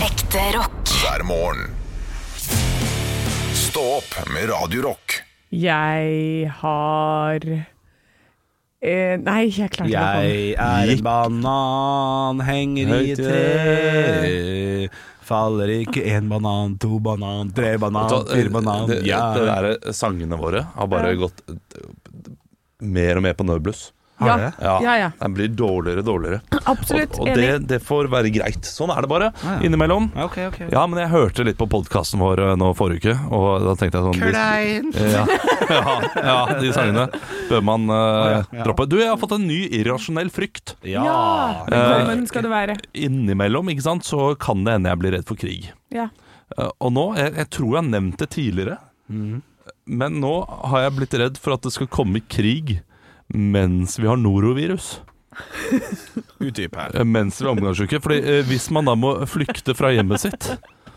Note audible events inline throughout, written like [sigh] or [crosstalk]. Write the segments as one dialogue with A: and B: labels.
A: Ekte rock.
B: hver morgen. Stå opp med Radio Rock.
C: Jeg har eh, Nei, jeg klarte ikke å komme.
D: Jeg er en banan, henger i et tre. Faller ikke én banan, to banan, tre banan,
E: Ta-
D: fire banan.
E: eh, det,
D: Ja.
E: det der eh, sangene våre har bare gått eh, mer og mer på nødbluss.
D: Har dere?
C: Ja, ja. ja.
E: Den blir dårligere og dårligere.
C: Absolutt.
E: og og det,
C: enig.
E: det får være greit. Sånn er det bare
D: ja.
E: innimellom.
D: Ja, ok, ok.
E: Ja, men jeg hørte litt på podkasten vår eh, nå forrige uke, og da tenkte jeg sånn
D: Klein.
E: Ja, [laughs] ja, ja, de sangene bør man eh,
D: ja.
E: droppe. Du, jeg har fått en ny irrasjonell frykt.
C: Ja,
E: Eh,
C: velkommen skal du være.
E: Innimellom ikke sant, så kan det hende jeg blir redd for krig.
C: Ja.
E: Eh, Og nå, jeg, jeg tror jeg har nevnt det tidligere, men nå har jeg blitt redd for at det skal komme krig mens vi har norovirus.
D: Utdyp her.
E: Eh, Mens vi er omgangssyke. Fordi eh, hvis man da må flykte fra hjemmet sitt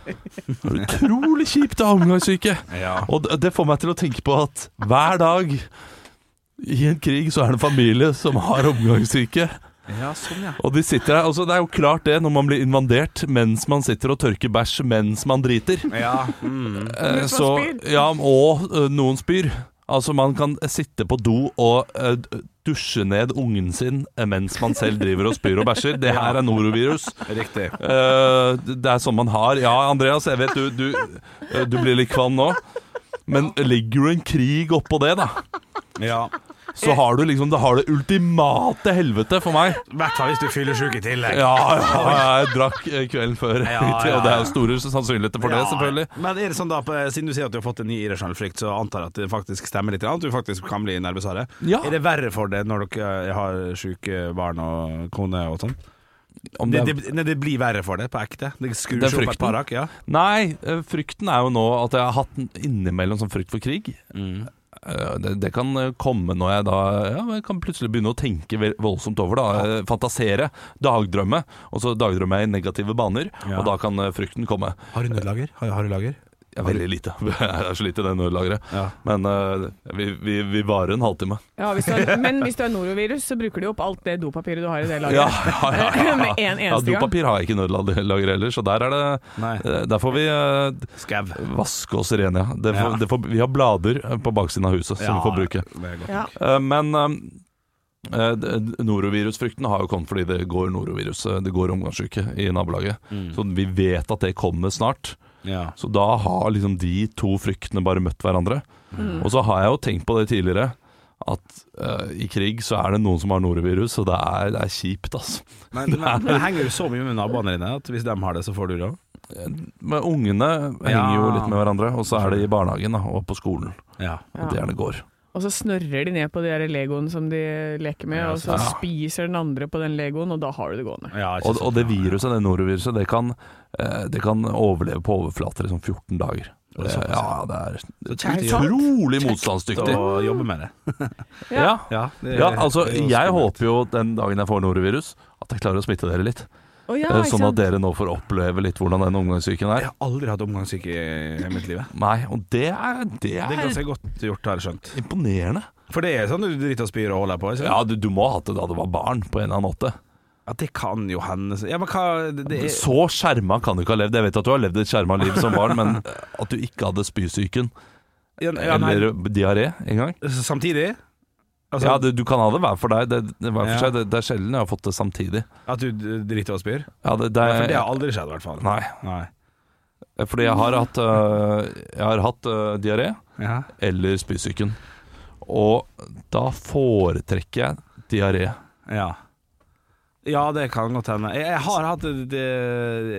E: det er Utrolig kjipt å ha omgangssyke!
D: Ja.
E: Og d- det får meg til å tenke på at hver dag i en krig så er det en familie som har omgangssyke.
D: ja, sånn ja.
E: Og de sitter der, altså Det er jo klart det når man blir invadert mens man sitter og tørker bæsj mens man driter.
D: Ja, mm.
E: Eh,
C: Mens man
E: så,
C: spyr.
E: ja, og eh, noen spyr. Altså Man kan sitte på do og eh, d- dusje ned ungen sin eh, mens man selv driver og spyr og bæsjer. Det her er norovirus.
D: riktig.
E: Eh, det er sånn man har. Ja, Andreas, jeg vet du, du, eh, du blir litt kvann nå. Men ligger det en krig oppå det, da,
D: Ja.
E: så har du liksom Det har det ultimate helvete for meg.
D: I hvert fall hvis du fyller sjuk i tillegg.
E: Ja, ja jeg drakk eh, kvelden før,
D: Ja, ja,
E: og det
D: ja.
E: er jo store sannsynligheter for det,
D: Ja.
E: selvfølgelig.
D: Men er det sånn da, på- siden du sier at du har fått en ny irrasjonell frykt, så antar jeg at det faktisk stemmer litt, at du faktisk kan bli nervøsere.
E: Ja.
D: Er det verre for det når dere eh, har syke barn og kone og sånn?
E: Om
D: Det,
E: det er-
D: det, nei, det blir verre for det, på ekte. Det skrur
E: Den
D: seg opp et
E: frykten?
D: par hakk. Ja.
E: Nei, eh, frykten er jo nå at jeg har hatt en innimellom sånn frykt for krig. Eh, Det, det kan eh, komme når jeg da ja, jeg kan plutselig begynne å tenke vel- voldsomt over det. da. Eh, Fantasere, dagdrømme. Og så dagdrømmer jeg i negative baner,
D: Ja.
E: og da kan eh, frykten komme.
D: Har du nødlager? Har, har du lager?
E: Jeg er veldig lite. [laughs] Jeg er så lite i det nødlageret.
D: Ja.
E: Men eh, vi, vi, vi varer en halvtime.
C: Ja, hvis du har, men hvis du har norovirus, så bruker du opp alt det dopapiret du har i det
E: [laughs] Ja,
C: lageret.
E: ja, ja, ja.
C: [laughs] Med en
E: ja,
C: eneste gang.
E: dopapir har jeg ikke i nødlager heller, så der er det
D: Nei.
E: eh, Der får vi eh,
D: Skau.
E: vaske oss rene, ja. Det får,
D: Ja.
E: Det får, vi har blader eh, på baksiden av huset som vi får bruke.
D: det er godt.
C: Ja.
E: Eh, Men eh, eh, d- norovirusfrykten har jo kommet fordi det går norovirus, eh, det går omgangssyke i nabolaget. Så vi vet at det kommer snart.
D: Mm. Ja.
E: Så da har liksom de to fryktene bare møtt hverandre. Og så har jeg jo tenkt på det tidligere, at eh, i krig så er det noen som har norovirus, og det er, det er kjipt, altså.
D: Men, men det henger jo så mye med naboene dine at hvis de har det, så får du det òg.
E: Men ungene henger jo litt med hverandre, og så er det i barnehagen da, og på skolen.
D: Ja.
E: Og det er det går.
C: Og så snørrer de ned på de der legoen som de leker med, og så spiser den andre på den legoen, og da har du det gående.
D: Ja, ikke
E: Og,
D: sant.
E: og det viruset, det noroviruset, det kan, eh, det kan overleve på overflater i sånn 14 dager.
D: det
E: Det,
D: såpass,
E: ja, det er
D: kjekt å gjøre.
E: utrolig motstandsdyktig.
D: Og jobbe med det.
E: Ja.
D: Ja, det,
E: ja, altså
D: det er jo
E: jeg
D: skummelt.
E: håper jo den dagen jeg får norovirus, at jeg klarer å smitte dere litt.
C: Å ja,
E: Eh,
C: ikke
E: Sånn at
C: sant?
E: dere nå får oppleve litt hvordan den omgangssyken
D: Jeg
E: er.
D: har aldri hatt omgangssyke i mitt liv. jeg.
E: Nei, og det er, det
D: Det er
E: er
D: ganske godt gjort, har jeg skjønt.
E: imponerende.
D: For det er sånn du driter og spyr og holder på? Ikke? sant?
E: Ja, du, du må ha hatt det da du var barn, på en eller annen måte.
D: ja, det kan jo hende Ja, men hva det, det er,
E: Så skjerma kan du ikke ha levd. Jeg vet at du har levd et skjerma liv som barn,
D: [laughs]
E: men at du ikke hadde spysyken
D: ja, ja, nei,
E: eller diaré en gang
D: Samtidig? Altså,
E: Ja, du, du kan ha det hver for deg. Det, det, hver for
D: Ja.
E: seg. det, det er sjelden jeg har fått det samtidig.
D: At du d- driter og spyr?
E: Ja, det, det,
D: Ja, for det
E: er,
D: har aldri skjedd, i hvert fall.
E: Eh, nei,
D: Nei.
E: fordi jeg har hatt, øh, jeg har hatt øh, diaré
D: Ja.
E: eller spysyken. Og da foretrekker jeg diaré.
D: ja. Ja, det kan godt hende. Jeg, jeg har hatt det, det,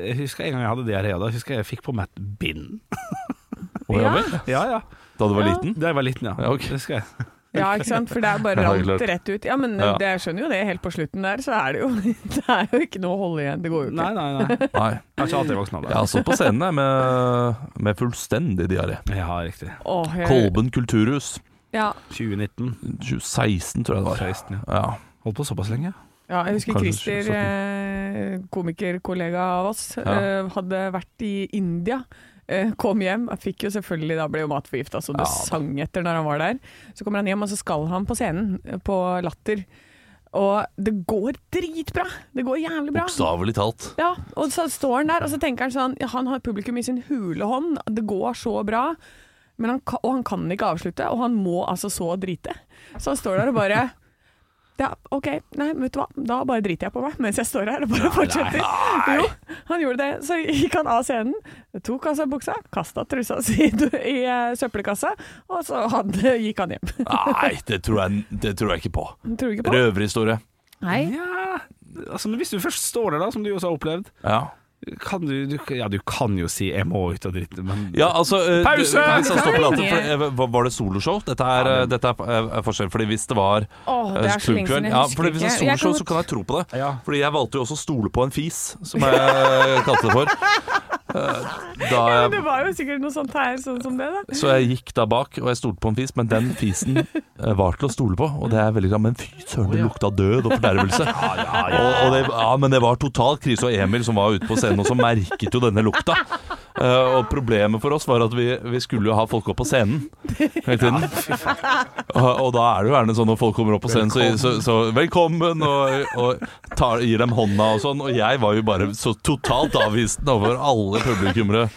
D: Jeg husker en gang jeg hadde diaré, og da husker jeg jeg fikk på meg et bind.
E: Å, ja
C: Ja.
E: vel?
D: Ja, ja.
E: Da du var
C: Ja.
E: liten?
D: Da jeg var liten, ja.
E: Ja, ok.
D: Det husker jeg.
C: Ja, ikke sant? For det er bare
E: Ja,
C: rant
E: klart.
C: rett ut. Ja, men
E: Ja.
C: Det, jeg skjønner jo det, helt på slutten der, så er det jo, [laughs] det er jo ikke noe å holde igjen. Det går jo ikke.
D: Nei, nei, nei. Jeg
E: Nei.
D: har ikke alltid voksen av
E: Jeg
D: det.
E: har stått på scenen jeg, med, med fullstendig diaré.
D: Ja, riktig.
C: Åh, jeg-
E: Kolben kulturhus.
C: Ja,
D: 2019.
E: 2016, tror jeg det var.
D: 16, ja.
E: Ja.
D: Holdt på såpass lenge.
C: ja, jeg husker
E: Kanskje
C: Christer, eh, komikerkollega av oss,
E: Ja.
C: eh, hadde vært i India. eh, Kom hjem, jeg fikk jo selvfølgelig, da ble jo matforgifta så det
E: Ja, da.
C: sang etter når han var der. Så kommer han hjem, og så skal han på scenen eh, på Latter. Og det går dritbra! Det går jævlig bra.
E: Bokstavelig talt.
C: Ja, og så står han der, og så tenker han sånn ja, Han har publikum i sin hule hånd, det går så bra. Men han, ka- og han kan ikke avslutte, og han må altså så drite. Så han står der og bare [laughs] ja, OK, nei, vet du hva, da bare driter jeg på meg mens jeg står her og bare fortsetter. Jo, han gjorde det. Så gikk han av scenen, tok av seg buksa, kasta trusa si i, i eh, søppelkassa, og så hadde, gikk han hjem. [laughs]
E: Nei, det tror jeg, det tror jeg ikke på.
C: Tror du ikke på det?
E: Røverhistorie.
C: Nei.
D: Ja, altså, men hvis du først står der, da, som du også har opplevd
E: Ja.
D: kan du, du, Ja, du kan jo si 'jeg må ut og drite', men
E: Ja, altså eh,
D: Pause!
E: det- kan jeg
C: Pause!
E: stoppe praten, for, eh, hva- Var det soloshow? Dette er, eh, dette er eh, forskjell, fordi hvis det var eh,
C: Åh, det er så lenge siden, jeg
E: ja,
C: husker
E: fordi Hvis det
C: ikke.
E: er
C: Jeg kan
E: soloshow, så kan jeg tro på det.
D: Ja.
E: Fordi jeg valgte jo også å stole på en fis, som jeg kalte det for. Eh, Da
C: [laughs] Ja, men det
E: jeg,
C: var jo sikkert noe sånt her, sånn som det, da.
E: så jeg gikk da bak, og jeg stolte på en fis, men den fisen eh, var til å stole på. Og det er veldig bra, men fy søren, det lukta død og fordervelse.
C: [laughs]
E: Og, og det, ja, men det var total krise, og Emil som var ute på scenen også, merket jo denne lukta. Eh, og problemet for oss var at vi, vi skulle jo ha folk opp på scenen hele tiden. og, og da er det jo gjerne sånn når folk kommer opp på scenen, så, så, så velkommen, og, og tar, gir dem hånda og sånn. Og jeg var jo bare så totalt avvisende over alle publikummere.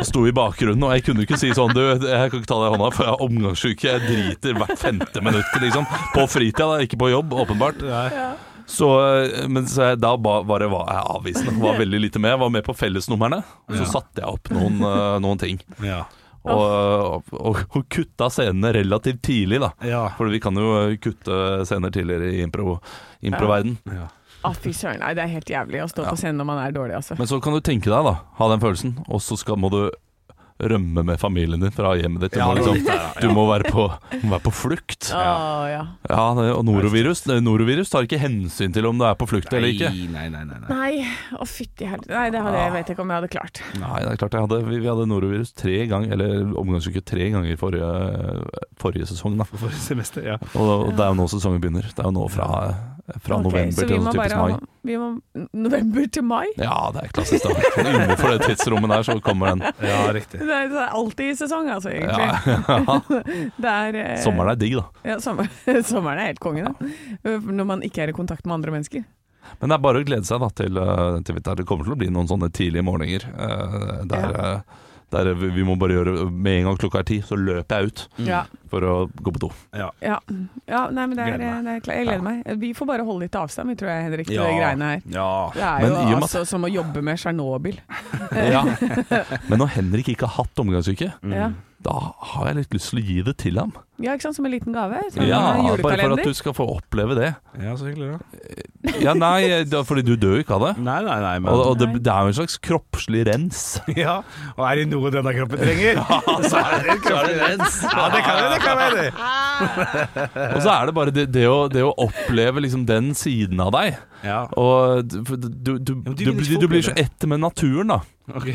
E: Og sto i bakgrunnen, og jeg kunne ikke si sånn Du, jeg kan ikke ta deg i hånda, for jeg er omgangssyk. Jeg driter hvert femte minutt, liksom. På fritida, da, ikke på jobb, åpenbart. Så, eh, men så jeg, da ba, bare var jeg avvisende.
D: [laughs]
E: Var veldig lite med. Jeg var med på fellesnumrene. og Så satte jeg opp noen, eh, noen ting.
D: Ja.
E: Og, eh, og, og kutta scenene relativt tidlig, da.
D: Ja.
E: For vi kan jo eh, kutte scener tidligere i impro, improverden.
D: ja.
C: Å, fy søren. Nei, det er helt jævlig å stå på scenen når man er dårlig, altså.
E: Men så kan du tenke deg, da. Ha den følelsen. Og så skal, må du rømme med familien din fra hjemmet ditt. Du
D: Ja,
E: må,
D: det er litt
E: liksom, du må være, på, må være på flukt.
C: Å, ja.
E: Ja, det- og norovirus Norovirus tar ikke hensyn til om du er på flukt eller ikke.
D: Nei, nei, nei, nei.
C: Nei, å fytti helvete. Nei, det hadde jeg vet ikke om jeg hadde klart.
E: Nei, det er klart jeg hadde, vi, vi hadde norovirus tre ganger, eller omgangsuke tre ganger forrige, forrige sesong. da
D: Forrige semester, ja.
E: Og, og det er jo nå sesongen begynner. Det er jo nå fra, fra
C: Ok,
E: november
C: så
E: til
C: vi må
E: sånn typisk
C: bare
E: mai.
C: ha- Vi må, november til mai?
E: Ja, det er klassisk, da. Sånn Innenfor det tidsrommet der, så kommer
C: [laughs]
E: den.
D: [laughs] Ja, riktig.
C: Det er, det er alltid i sesong, altså, egentlig.
E: Ja,
C: [laughs]
E: [laughs]
C: Det er, eh,
E: Sommeren er digg, da.
C: Ja, sommer, [laughs] sommeren er helt konge, da. Når man ikke er i kontakt med andre mennesker.
E: Men det er bare å glede seg da til, eh, til der det kommer til å bli noen sånne tidlige morgener. eh, Der, eh, der vi vi må bare gjøre Med en gang klokka er ti, så løper jeg ut
C: Ja.
E: for å gå på do.
D: Ja.
C: Ja, ja nei, men det er,
D: Gleder meg.
C: det er klart. Jeg gleder meg. Vi får bare holde litt avstand, vi tror jeg, Henrik, til
D: Ja.
C: de greiene her.
D: Ja.
C: Det er
E: Men i og
C: jo
E: med
C: altså som å jobbe med Tsjernobyl.
E: [laughs] Ja. Men når Henrik ikke har hatt omgangssyke,
D: Mm.
C: Ja.
E: da har jeg litt lyst til å gi det til ham.
C: ja, ikke sant? Som en liten gave. Som
E: Ja,
C: en
E: Bare for
C: julekalender.
E: at du skal få oppleve det.
D: ja, så hyggelig, da.
E: Ja, nei, da, fordi du dør jo ikke av det.
D: Nei, nei, nei, men
E: Og, og det, det er jo en slags kroppslig rens.
D: [laughs] Ja, og er det noe denne kroppen [laughs] trenger, så er det en kroppslig rens. Ja, det kan jeg, det kan jeg. Det.
E: Og så er det bare det, det, å, det å oppleve liksom den siden av deg.
D: Ja,
E: Og du, for du, du,
D: men du
E: du,
D: vil ikke
E: du,
D: få
E: blir så
D: oppleve
E: ett med naturen, da.
D: ok.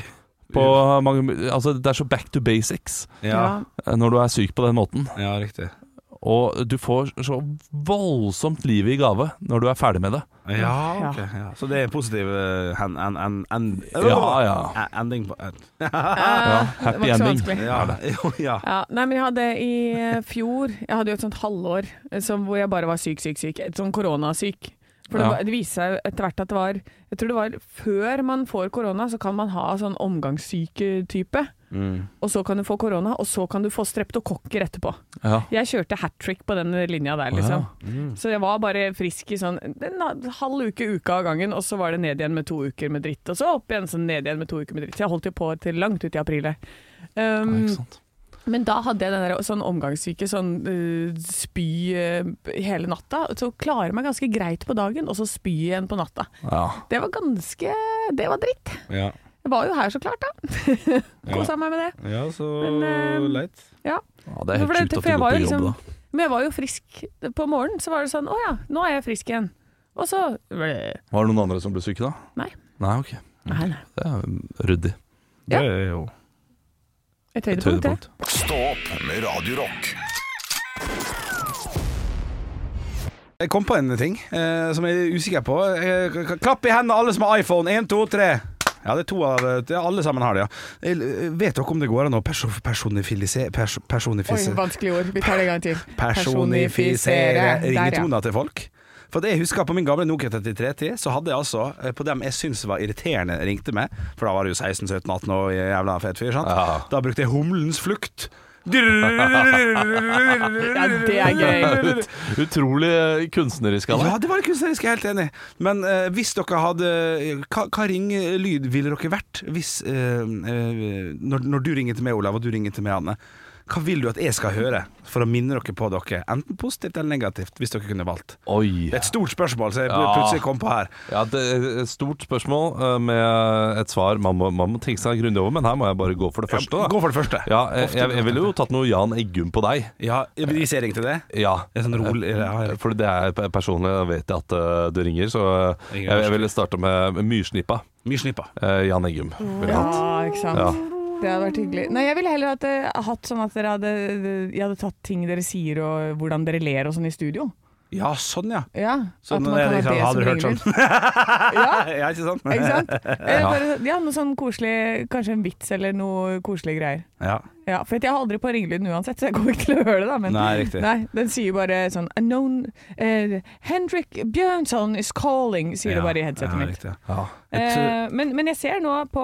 E: På mange, altså, det er så back to basics
D: Ja,
E: eh, når du er syk på den måten.
D: ja riktig.
E: Og du får så voldsomt livet i gave når du er ferdig med det.
D: Ja, ok. Ja. Så det er en positiv eh, hen- en, en, en,
E: Ja, ja.
D: en- ending på en.
E: Ah, Ja,
C: det
E: happy
C: var ikke så
E: ending.
C: vanskelig.
D: Ja, [laughs] jo, ja.
C: Ja, nei, men jeg hadde i eh, fjor Jeg hadde jo et sånt halvår eh, som, hvor jeg bare var syk, syk, syk. Et sånn koronasyk. For det,
E: Ja.
C: var- det viste seg etter hvert at det var Jeg tror det var før man får korona, så kan man ha sånn omgangssyke-type.
D: Mm.
C: Og så kan du få korona, og så kan du få streptokokker etterpå.
E: Ja.
C: Jeg kjørte hat trick på den linja der, liksom.
D: Mm.
C: Så jeg var bare frisk i sånn en halv uke, uka av gangen, og så var det ned igjen med to uker med dritt. Og så opp igjen, så ned igjen med to uker med dritt. Så jeg holdt jo på til langt ut i april. jeg. Um,
E: Ja, ikke sant?
C: men da hadde jeg den der sånn omgangssyke, sånn eh, spy eh, hele natta. Så klarer jeg meg ganske greit på dagen, og så spy igjen på natta.
E: Ja.
C: Det var ganske Det var dritt.
D: Ja.
C: Jeg var jo her, så klart, da. Kosa meg med det.
D: ja, så
C: Men, eh,
D: leit.
C: Ja.
E: Ja, det er helt
C: For det-
E: sjukt at
C: for
E: du
C: jeg
E: går
C: var
E: på
C: jo
E: jobb,
C: liksom-
E: da.
C: Men jeg var jo frisk på morgenen, så var det sånn Å ja, nå er jeg frisk igjen. Og så Nei,
E: Var det noen andre som ble syke da?
C: Nei.
E: Nei, ok.
C: nei.
E: Det er um, ryddig.
C: Ja.
D: Det er jo
C: Et høydepunkt, det.
E: Høydepunkt.
B: Stå opp med Radio Rock.
D: Jeg kom på en ting eh, som jeg er usikker på. Eh, k- k- klapp i hendene alle som har iPhone. Én, to, tre. Ja, det er to av eh, det. Alle sammen har det, ja. Jeg, eh, vet dere om det går an å perso personifilise... Perso
C: Oi,
D: personifise
C: vanskelige ord. Vi tar det en gang til.
D: personifisere
C: Der, ja.
D: ringetoner til folk? For at jeg husker på min gamle Nokia 3310, så hadde jeg altså eh, på dem jeg syntes var irriterende, ringte meg, for da var det jo 16-17-18 og jævla fet fyr, sant.
E: Ja.
D: Da brukte jeg Humlens flukt.
C: Ja, det er gøy.
E: Ut, utrolig eh, kunstnerisk av
D: Ja,
E: deg.
D: det var det kunstneriske, jeg er helt enig. Men eh, hvis dere hadde Hva, hva ringlyd ville dere vært hvis eh, eh, når, når du ringer til meg, Olav, og du ringer til meg, Anne. Hva vil du at jeg skal høre for å minne dere på dere, enten positivt eller negativt, hvis dere kunne valgt?
E: Oi.
D: Det er et stort spørsmål, så jeg
E: Ja.
D: plutselig kom på her.
E: Ja, det er et stort spørsmål eh, med et svar man må, man må tenke seg grundig over, men her må jeg bare gå for det første. Da.
D: Gå for det første.
E: Ja, eh, jeg, jeg ville jo tatt noe Jan Eggum på deg.
D: Ja, Hvis jeg ringte det?
E: Ja.
D: Det er sånn rolig ja, ja.
E: For det er pe- personlig, da vet jeg at eh, det ringer, så eh,
D: Ringer,
E: jeg, jeg ville starte med med Myrsnippa.
D: Mye snipper.
E: eh, Jan Eggum. ville jeg
C: Ja,
E: hatt.
C: ikke sant.
E: Ja.
C: Det hadde vært hyggelig. Nei, jeg ville heller hatt, eh, hatt sånn at dere hadde, jeg hadde tatt ting dere sier og hvordan dere ler og sånn i studio.
D: Ja, sånn, ja.
C: Ja,
D: Så
C: at
D: nå
C: man kan
D: er
C: ha
D: det liksom,
C: det
D: hadde
C: som
D: du hørt
C: ringelyd.
D: sånn?
C: Ja,
D: [laughs] ja, ikke sant?
C: ikke
D: [laughs]
C: sant? Eller bare, ja, noe sånn koselig, kanskje en vits eller noe koselige greier.
D: Ja.
C: Ja, for at jeg har aldri på ringelyden uansett, så jeg kommer ikke til å høre det, da. Men
D: Nei, riktig.
C: Nei, den sier bare sånn "A known, eh, Henrik Bjørnson is calling, sier det bare i headsetet
D: ja,
C: mitt.
D: Riktig.
E: Ja.
D: Jeg tror-
C: Eh, men, men jeg ser nå på,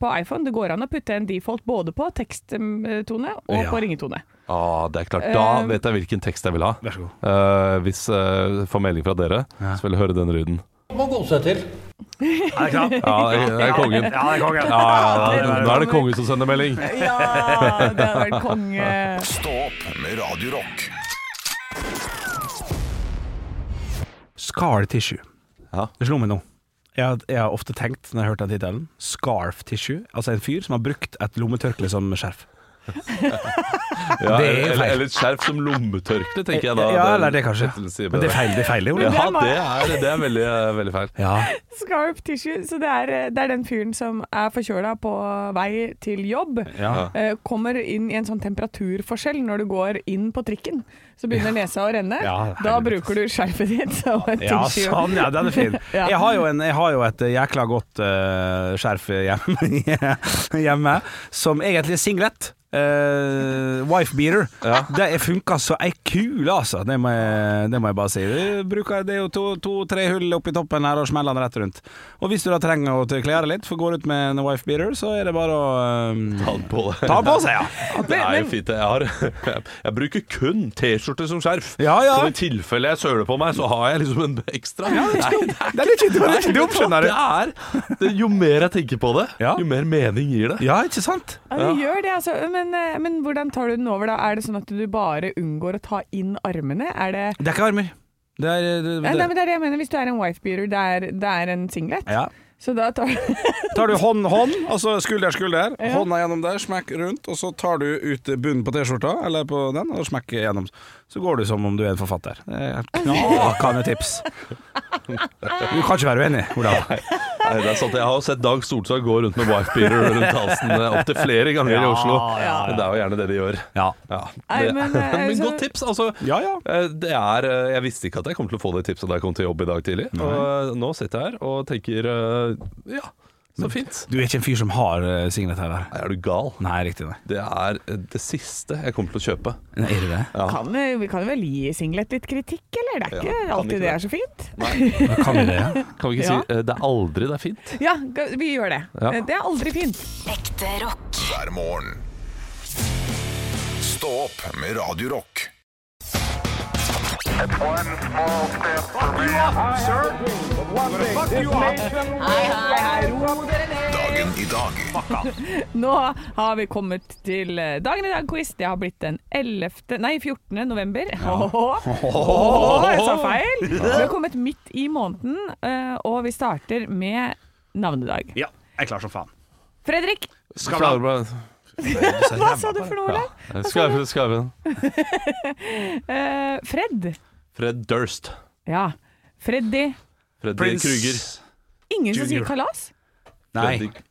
C: på iPhone, det går an å putte en default både på teksttone og
D: Ja.
C: på ringetone.
E: Ah, det er klart. Da
C: Eh,
E: vet jeg hvilken tekst jeg vil ha.
D: Vær så god.
E: Eh, hvis eh, jeg får melding fra dere,
D: Ja.
E: så vil jeg høre den lyden.
A: må gå seg til.
D: Er det [laughs] klart?
E: Ja, det er- det er kongen.
D: Ja, det er kongen.
E: Ja, ja, ja, nå er det kongen som sender melding.
C: [laughs] Ja, det hadde vært konge.
B: Stå opp med Radio Rock.
D: Scar tissue.
E: Ja.
D: Det slo meg nå. Jeg, har- jeg har ofte tenkt når jeg har hørt den tittelen, scarf tissue. Altså en fyr som har brukt et lommetørkle som skjerf.
E: Ja,
D: Det er jo
E: eller,
D: feil.
E: eller et skjerf som lommetørkle, tenker jeg da.
D: ja, eller det kanskje.
E: vil si
D: Men det er
E: bare-
D: feil, det er feil, det, Ole.
E: Ja, det er, det er veldig, eh, veldig feil.
D: Ja.
C: Scarf tissue. Så det er, eh, det er den fyren som er forkjøla på vei til jobb.
D: Ja.
C: eh, Kommer inn i en sånn temperaturforskjell når du går inn på trikken. Så begynner nesa å renne.
D: Ja,
C: da
D: helvete.
C: bruker du skjerfet ditt [laughs] som et
D: Ja,
C: tissue.
D: sånn, [laughs] ja, den er fin.
C: Ja.
D: Jeg har jo, en, jeg har jo et eh, jækla godt eh, skjerf hjemme, [laughs] hjemme, som egentlig er singlet. Eh, wife beater. Det funka så ei kule, altså. Det må jeg, det må jeg bare si. Det, bruker, det er jo to-tre hull oppi toppen her og smeller den rett rundt. Og hvis du da trenger å kle deg litt, for går ut med en wife beater, så er det bare å eh,
E: Ta den på deg.
D: ta den på seg, ja.
E: Det er jo
C: Men-
E: fint. Jeg, har, [laughs] jeg bruker kun T-skjorte som skjerf.
D: Ja, ja.
E: Så i tilfelle jeg søler på meg, så har jeg liksom en ekstra. Nei,
D: Det er litt dumt, det er litt dumt, skjønner du.
E: Det er, det, jo mer jeg tenker på det,
D: Ja.
E: jo mer mening gir det.
D: Ja, ikke sant?
C: Ja, det gjør det, altså. Men, eh, men hvordan tar du den over, da? Er det sånn at du bare unngår å ta inn armene? Er det
D: Det er ikke armer. Det er, det,
C: Nei, nei,
D: det.
C: men det er det jeg mener. Hvis du er en wifebeater, det, er- det er en singlet.
D: Ja.
C: Så da tar du [laughs]
D: tar du hånd, hånd, og så skulder, skulder. Hånda gjennom der, smekk rundt, og så tar du ut bunnen på T-skjorta, eller på den, og smekk gjennom. Så går du som om du er en forfatter. Det er Knakende tips. Du kan ikke være uenig, Olav.
E: Nei, det er sant. Jeg har jo sett Dag Solstad gå rundt med wifebeater rundt halsen eh, opptil flere ganger i Oslo. Men Det er jo gjerne det de gjør.
D: Ja.
E: Ja.
C: Nei,
E: Det, [laughs]
C: men,
E: men,
C: eh, så-
E: godt tips. Altså,
D: Ja, ja.
E: Eh, Det er, eh, jeg visste ikke at jeg kom til å få det tipset da jeg kom til jobb i dag tidlig. Og eh, nå sitter jeg her og tenker eh, Ja, så fint.
D: Du er ikke en fyr som har eh, singlet her, der.
E: Nei, Er du gal?
D: Nei, riktig, nei.
E: Det er eh, det siste jeg kommer til å kjøpe.
D: nei er det det?
C: kan, eh, Vi kan vel gi singlet litt kritikk, eller? Det er
E: Ja,
C: ikke
E: kan
C: alltid
E: ikke
C: det
E: det.
C: er så fint.
D: Ja, Kan vi det? ja?
E: Kan vi ikke
C: Ja.
E: si eh, 'det er aldri det er fint'?
C: Ja, ga- vi gjør det.
E: Ja.
C: Eh, Det er aldri fint.
F: Ekte rock.
B: Hver morgen. Stå opp med Radio Rock. Dagen i dag.
C: Nå har vi kommet til eh, dagen i dag-quiz. Det har blitt den 11. Nei, 14. november. Åh, jeg sa feil! Vi har kommet midt i måneden, eh, og vi starter med navnedag.
D: Ja, jeg er klar som faen.
C: Fredrik,
D: Skavlan.
C: hva sa du for noe, Olav?
E: Skarven. Skarven.
C: Eh, Fred.
E: Fred Durst.
C: Ja. Freddy.
E: Freddy
D: Prince
E: Kruger.
C: Ingen som
D: Junior.
C: sier kalas?
D: Nei.
E: Freddy-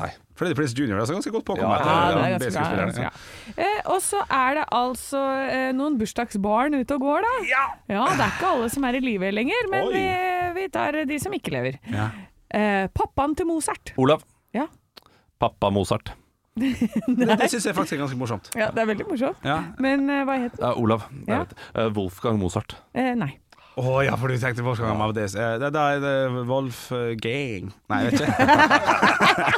E: Nei.
D: Freddy Prince Jr. er altså ganske godt påkommet.
E: Ja,
C: Ja, det er ganske
D: B-skuespilleren,
C: bra.
D: ja.
C: Ganske bra. Eh, og så er det altså eh, noen bursdagsbarn ute og går, da. Ja. Det er ikke alle som er i live lenger, men
D: Oi.
C: vi, vi tar de som ikke lever.
D: Ja.
C: Eh, pappaen til Mozart.
E: Olav.
C: Ja.
E: Pappa Mozart.
D: Det, det syns jeg faktisk er ganske morsomt.
C: ja, det er veldig morsomt.
D: Ja.
C: Men eh, hva het den?
E: Eh, Olav. Jeg
C: Ja.
E: vet. Eh, Wolfgang Mozart.
C: Eh, nei.
D: Å ja, for du tenkte første gang med ABDs. Eh, Det, det er det, Wolf eh, Gang Nei, jeg vet
E: [laughs]
D: ikke.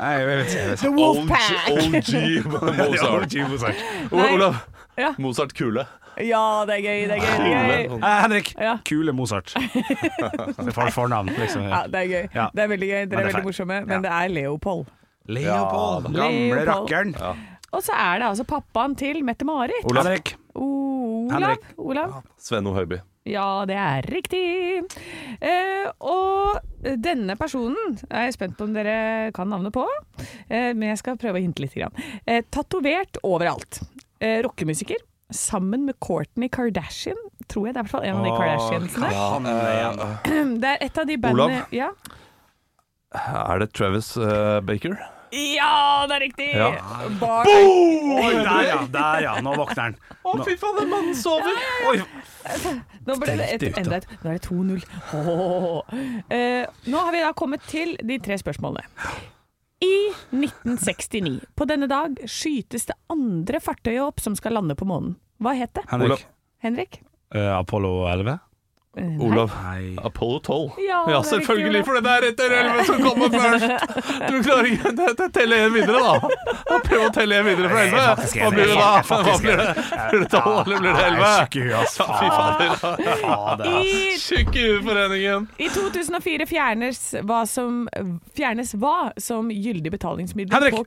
D: Nei, jeg vet ikke. Jeg vet ikke.
C: The Wolfpack!
E: OG Mozart.
D: Ja, Jimbo Sack.
E: O- Olav,
C: Ja.
E: Mozart kule.
C: Ja, det er gøy, det er gøy. Det er gøy.
D: Eh, Henrik.
C: Ja.
D: Kule Mozart. Det er for fornavn, liksom.
C: Ja, det er gøy.
D: Ja.
C: Det er veldig gøy. Dere
D: det
C: er
D: er
C: veldig
D: feil.
C: morsomme,
D: Ja.
C: men det er Leopold.
D: Leopold.
C: Ja, da.
D: Gamle
C: Leopold.
D: rakkeren.
C: Og så er det altså pappaen til Mette-Marit.
E: Olav.
D: Henrik.
C: Olav.
D: Henrik.
C: Olav.
E: Svenno Høiby.
C: Ja, det er riktig. Eh, og denne personen er jeg spent på om dere kan navnet på. Eh, men jeg skal prøve å hinte litt. grann. Eh, Tatovert overalt. Eh, Rockemusiker. Sammen med Courtney Kardashian, tror jeg det er i hvert fall en av de
D: Åh,
C: Kardashiansene.
D: Han er igjen.
C: Det er et av de bandene
E: Olav.
C: ja.
E: Er det Travis eh, Baker?
C: ja, det er riktig!
E: Ja.
C: Bar-
D: Oi, der ja, der ja. Nå våkner han.
E: Å, fy faen, den mannen sover!
D: Oi,
C: Nå ble det et,
D: Stelte ut,
C: enda et. Nå er det 2-0. Åh. Eh, nå har vi da kommet til de tre spørsmålene. I 1969, på denne dag, skytes det andre fartøyet opp som skal lande på månen. Hva het det?
D: Henrik.
E: Olav.
C: Henrik?
D: Eh, Apollo 11?
C: Eh, nei.
E: Olav.
D: Nei.
E: Apollo 12.
C: Ja, det er riktig, Olav.
E: for det er etter 11 som kommer først. Du klarer ikke det- det- Tell én videre, da. Da Prøv å telle én videre fra
D: Jeg er
E: 11.
D: faktisk
E: Hva blir det
D: enig.
E: da?
D: Jeg er
E: Hva
D: faktisk
E: blir det? Blir det 12, eller blir det 11?
D: Tjukke huet, ass.
E: Ja, fy fader.
D: Fader, ass.
C: I,
E: Tjukk i hueforeningen.
C: I 2004 fjernes hva som, fjernes hva som gyldig betalingsmiddel
D: Henrik.
C: på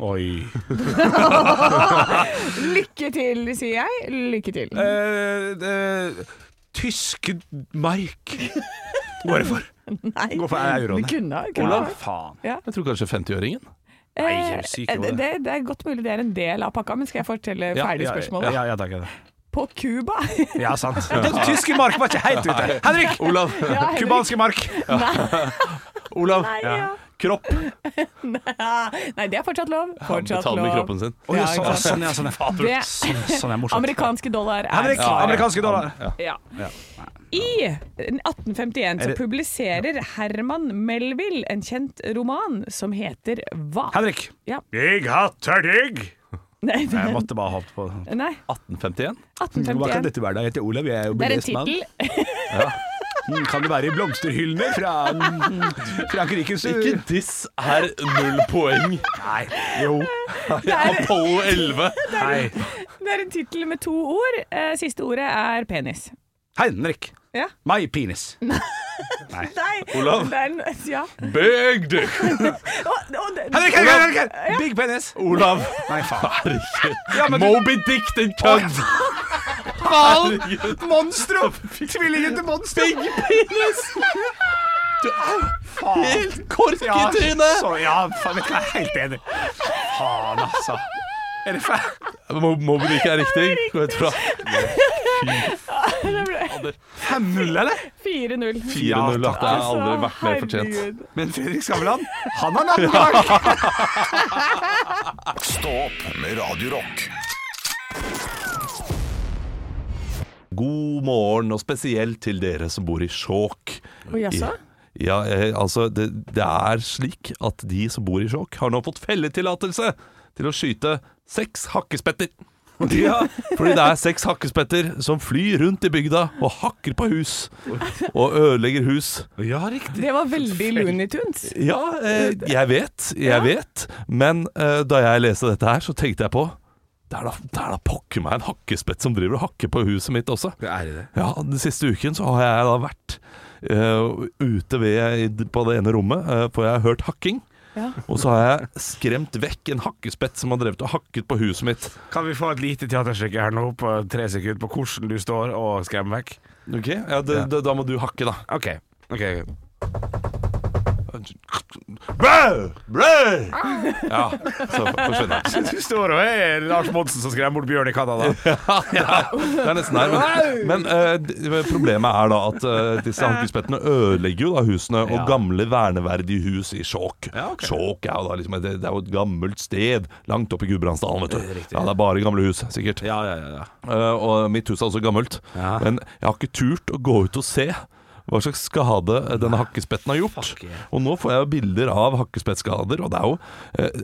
D: Oi.
C: Lykke til, sier jeg. Lykke til.
D: Eh, eh, tysk mark går jeg for.
C: Nei,
D: Gå for euroen.
C: du kunne ha
D: Olav, faen.
E: Jeg tror kanskje 50-øringen.
D: Nei, jeg er syk i
C: Eh,
D: hodet.
C: det, det er godt mulig det er en del av pakka, men skal jeg fortelle ferdig
D: Ja,
C: spørsmålet?
D: Ja, ja, takk. ja, takk.
C: På Cuba? [laughs]
D: Ja, sant. [laughs] Den tyske mark var ikke helt ute. Henrik!
E: Olav.
C: Ja, Henrik. [laughs]
D: Kubanske mark.
E: Olav.
C: Nei, ja.
E: Kropp.
C: Nei, det er fortsatt lov.
E: Han
C: Fortsatt
E: betaler med
C: lov.
E: kroppen sin.
D: Oi,
C: Ja,
D: sånn,
C: ikke sant.
D: sånn, ja, sånn, ja.
C: Det-
D: Sånn, sånn er morsomt.
C: Amerikanske dollar er
D: Henrik!
C: svaret.
D: Amerikanske dollar.
C: Ja. I 1851 så
D: det-
C: publiserer Herman Melville en kjent roman som heter Hva?
D: Henrik.
C: Ja.
D: Jeg hater deg.
C: Nei,
D: Jeg måtte bare hoppe på
C: [laughs] nei
E: 1851.
D: Hva kan
C: 1851.
D: dette være? da? Jeg heter Olav, jeg er jo
C: Det er en
D: bedriftsmann.
C: tittel. [laughs]
D: Mm, Kan det være i blomsterhyllene fra
C: [laughs]
D: mm, Frankrikes
E: Ikke diss er null poeng.
D: Nei. Jo.
C: er-
E: Apollo 11.
D: Nei.
C: Det er en tittel med to ord. Eh, Siste ordet er penis.
D: Henrik.
C: Ja.
D: My penis.
C: Nei,
E: Olav?
C: det er en, ja.
E: Big dick.
C: Og- og det-
D: Henrik, Henrik, Henrik, Henrik! Big penis.
E: Olav.
D: Nei, faen. Ja,
E: Herregud.
D: men du-
E: Moby Dick, din kødd.
D: Faen!
E: Herregud.
D: Monstro! Tvillingen til monstro.
E: Big penis. Du er helt kork i trynet.
D: så, ja, faen, vet du hva, jeg er helt enig. Faen, altså. Er det faen?
E: Mo- Moby Dick er riktig. Gå ut fra
C: det ble
D: 5-0, eller?
C: 4-0.
E: 4-0. da. Det har aldri vært mer fortjent.
C: Herregud.
D: Men Fredrik Skavlan, han har navnet bak.
B: Stå opp med Radio Rock.
E: God morgen, og spesielt til dere som bor i Skjåk.
C: Å, jaså?
E: Ja, eh, altså, det, det er slik at de som bor i Skjåk, har nå fått felletillatelse til å skyte seks
C: [laughs]
E: hakkespetter.
D: Ja.
E: Fordi det er seks hakkespetter som flyr rundt i bygda og hakker på hus. Og ødelegger hus.
D: ja, riktig.
C: Det var veldig Looney Tunes.
E: Ja, eh, jeg vet, jeg vet. Men eh, da jeg leste dette her, så tenkte jeg på Det er da, det er da pokker meg en hakkespett som driver og hakker på huset mitt også.
D: Er det det?
E: Ja, den siste uken så har jeg da vært eh, ute ved, i- på det ene rommet, eh, for jeg har hørt hakking.
C: Ja.
E: Og så har jeg skremt vekk en hakkespett som har drevet og hakket på huset mitt.
D: Kan vi få et lite teaterstykke her nå på tre sekunder på hvordan du står og skremmer vekk?
E: Ok, ja, det, det, Da må du hakke, da.
D: OK. ok
E: Brød! Brød! Ja, så forsvinner den.
D: Du står og er Lars Monsen som skremmer bort bjørn i Canada.
E: Det er nesten her. Men, men eh, d- problemet er da at eh, disse hakkespettene ødelegger jo da husene, og
D: Ja.
E: gamle verneverdige hus i Skjåk.
D: Ja, ok.
E: Skjåk er jo da liksom, det, det er jo et gammelt sted langt oppe i Gudbrandsdalen, vet du.
D: Riktig.
E: Ja, det er bare gamle hus, sikkert.
D: Ja, ja, ja, ja.
E: Eh, og mitt hus er også gammelt.
D: Ja.
E: Men jeg har ikke turt å gå ut og se. hva slags skade eh, denne hakkespetten har gjort.
D: Fuck yeah.
E: Og nå får jeg jo bilder av hakkespettskader, og det er jo eh,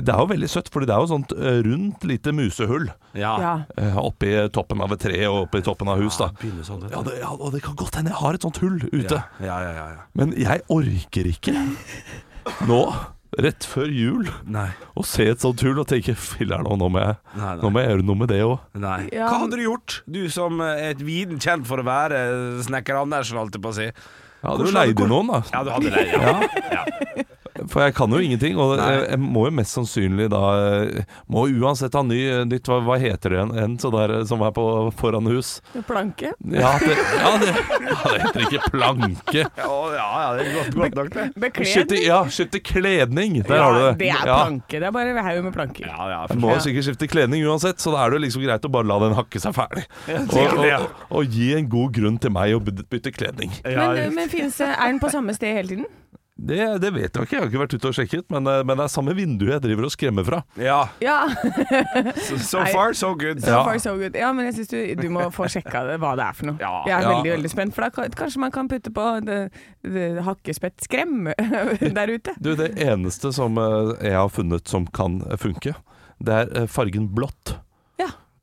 E: det er jo veldig søtt, fordi det er jo sånt eh, rundt lite musehull
C: Ja.
E: eh, oppi toppen av et tre og oppi toppen av hus. da
D: Begynner sånn, vet du.
E: ja, det, ja, Og det kan godt hende jeg har et sånt hull ute.
D: Ja, ja, ja, ja.
E: Men jeg orker
D: [laughs]
E: ikke nå, rett før jul,
D: Nei.
E: å se et sånt hull og tenke filler'n, nå, nå, må jeg-
D: Nei, nei.
E: nå må jeg gjøre noe med det òg.
D: Nei.
C: Ja.
D: Hva hadde du gjort, du som er et viden kjent for å være snekker Andersen, holdt jeg på å si?
E: Jeg hadde jo
D: Hvordan hadde
E: leid
D: du-
E: inn noen, da.
D: Ja, du hadde det. Ja. Ja.
E: For jeg kan jo ingenting, og
D: Nei.
E: jeg, jeg må jo mest sannsynlig da eh, Må uansett ha ny, eh, nytt Hva, hva heter det igjen? En sånn der som er på foran hus?
C: Planke.
E: Ja, det, ja, det, ja, det heter ikke planke.
D: Ja, ja, ja, det er godt, godt nok, det.
E: Skifte,
C: Bekledning.
E: ja, skifte kledning. Der har du det.
C: Det er
E: Ja.
C: planke. Det er bare haug med planker.
D: Ja, ja,
E: Jeg
D: for
E: må jo sikkert skifte kledning uansett, så da er det jo liksom greit å bare la den hakke seg ferdig. Og,
D: sikkert det, ja.
E: og, og gi en god grunn til meg å byt- bytte kledning.
D: ja,
C: Men, um, men finnes det, er den på samme sted hele tiden?
E: Det, det vet jeg ikke, jeg har ikke vært ute og sjekket, men, eh, men det er samme vindu jeg driver og skremmer fra.
D: ja.
C: Ja.
D: So, so far, so good.
C: [laughs] So far so good. Ja, men jeg syns du, du må få sjekka det, hva det er for noe.
D: Ja.
C: jeg er
E: Ja.
C: veldig veldig spent, for da kan- kanskje man kan putte på det, det hakkespettskrem [laughs] der ute.
E: Du, det eneste som eh, jeg har funnet som kan eh, funke, det er eh, fargen blått.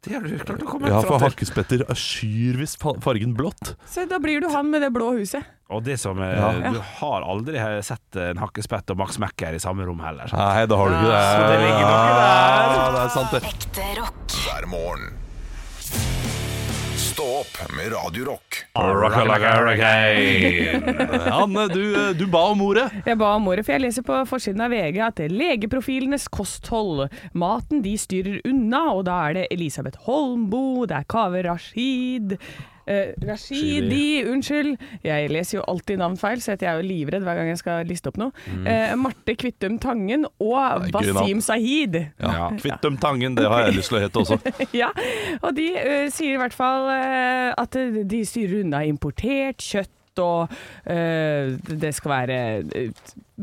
D: Det har du klart å komme
E: Ja, for
D: fram til.
E: hakkespetter skyr visst fa- fargen blått.
C: Så da blir du han med det blå huset.
D: Og det som er,
E: Ja.
D: Du har aldri sett en hakkespett og Max Mekker i samme rom heller.
E: Nei, da har du ikke det.
D: Så det ligger noe der.
E: Ja, det er sant, det.
A: Ekte rock.
B: hver morgen. Stå opp med Radio Rock.
E: Anne, du, eh, du ba om ordet.
C: Jeg ba om ordet, for jeg leser på forsiden av VG at det er legeprofilenes kosthold. Maten de styrer unna, og da er det Elisabeth Holmboe, det er Kaveh Rashid eh, Rashidi, unnskyld. Jeg leser jo alltid navn feil, så jeg er jo livredd hver gang jeg skal liste opp noe. Eh, Marte Kvittum Tangen og
E: Det er gøy navn.
C: Wasim Sahid.
E: Ja. Kvittum Tangen, det har jeg lyst til å hete også.
C: [laughs] ja, og de ø, sier i hvert fall ø, at de styrer unna importert kjøtt, og ø, det skal være ø,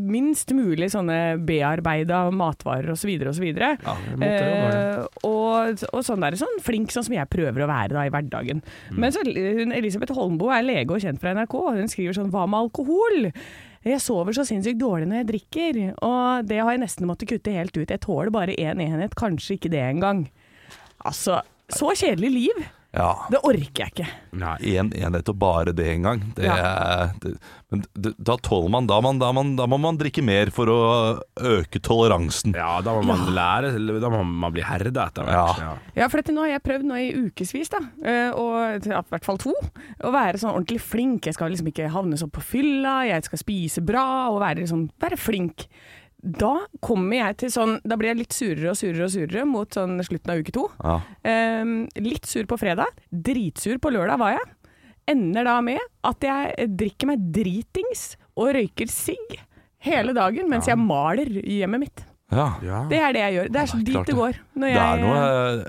C: minst mulig sånne bearbeida matvarer osv. osv.
E: Ja, det måtte jo være
C: Eh, og, og sånn der, sånn flink sånn som jeg prøver å være da i hverdagen.
E: Mm.
C: Men så, hun, Elisabeth Holmboe er lege og kjent fra NRK, og hun skriver sånn Hva med alkohol? Jeg sover så sinnssykt dårlig når jeg drikker, og det har jeg nesten måttet kutte helt ut. Jeg tåler bare én enhet, kanskje ikke det engang. Altså, så kjedelig liv!
E: Ja.
C: Det orker jeg ikke.
D: Nei.
E: Én enhet og bare det en gang. Det, er- det, men d- da tåler man da, man da man da må man drikke mer for å øke toleransen.
D: Ja, da må man lære Da må man bli herde etter hvert.
E: Ja.
C: Ja, for dette nå har jeg prøvd nå i ukevis, da, eh, og ja, i hvert fall to, å være sånn ordentlig flink. Jeg skal liksom ikke havne sånn på fylla, jeg skal spise bra og være, liksom, være flink. Da kommer jeg til sånn Da blir jeg litt surere og surere og surere mot sånn slutten av uke to.
E: Ja.
C: Eh, litt sur på fredag, dritsur på lørdag var jeg. Ender da med at jeg drikker meg dritings og røyker sigg hele dagen mens jeg maler i hjemmet mitt.
E: Ja.
D: Ja.
C: Det er det jeg gjør. Det er sånn
E: Ja, det er klart
C: dit det
E: det.
C: går. Når
E: Det
C: jeg,
E: er noe,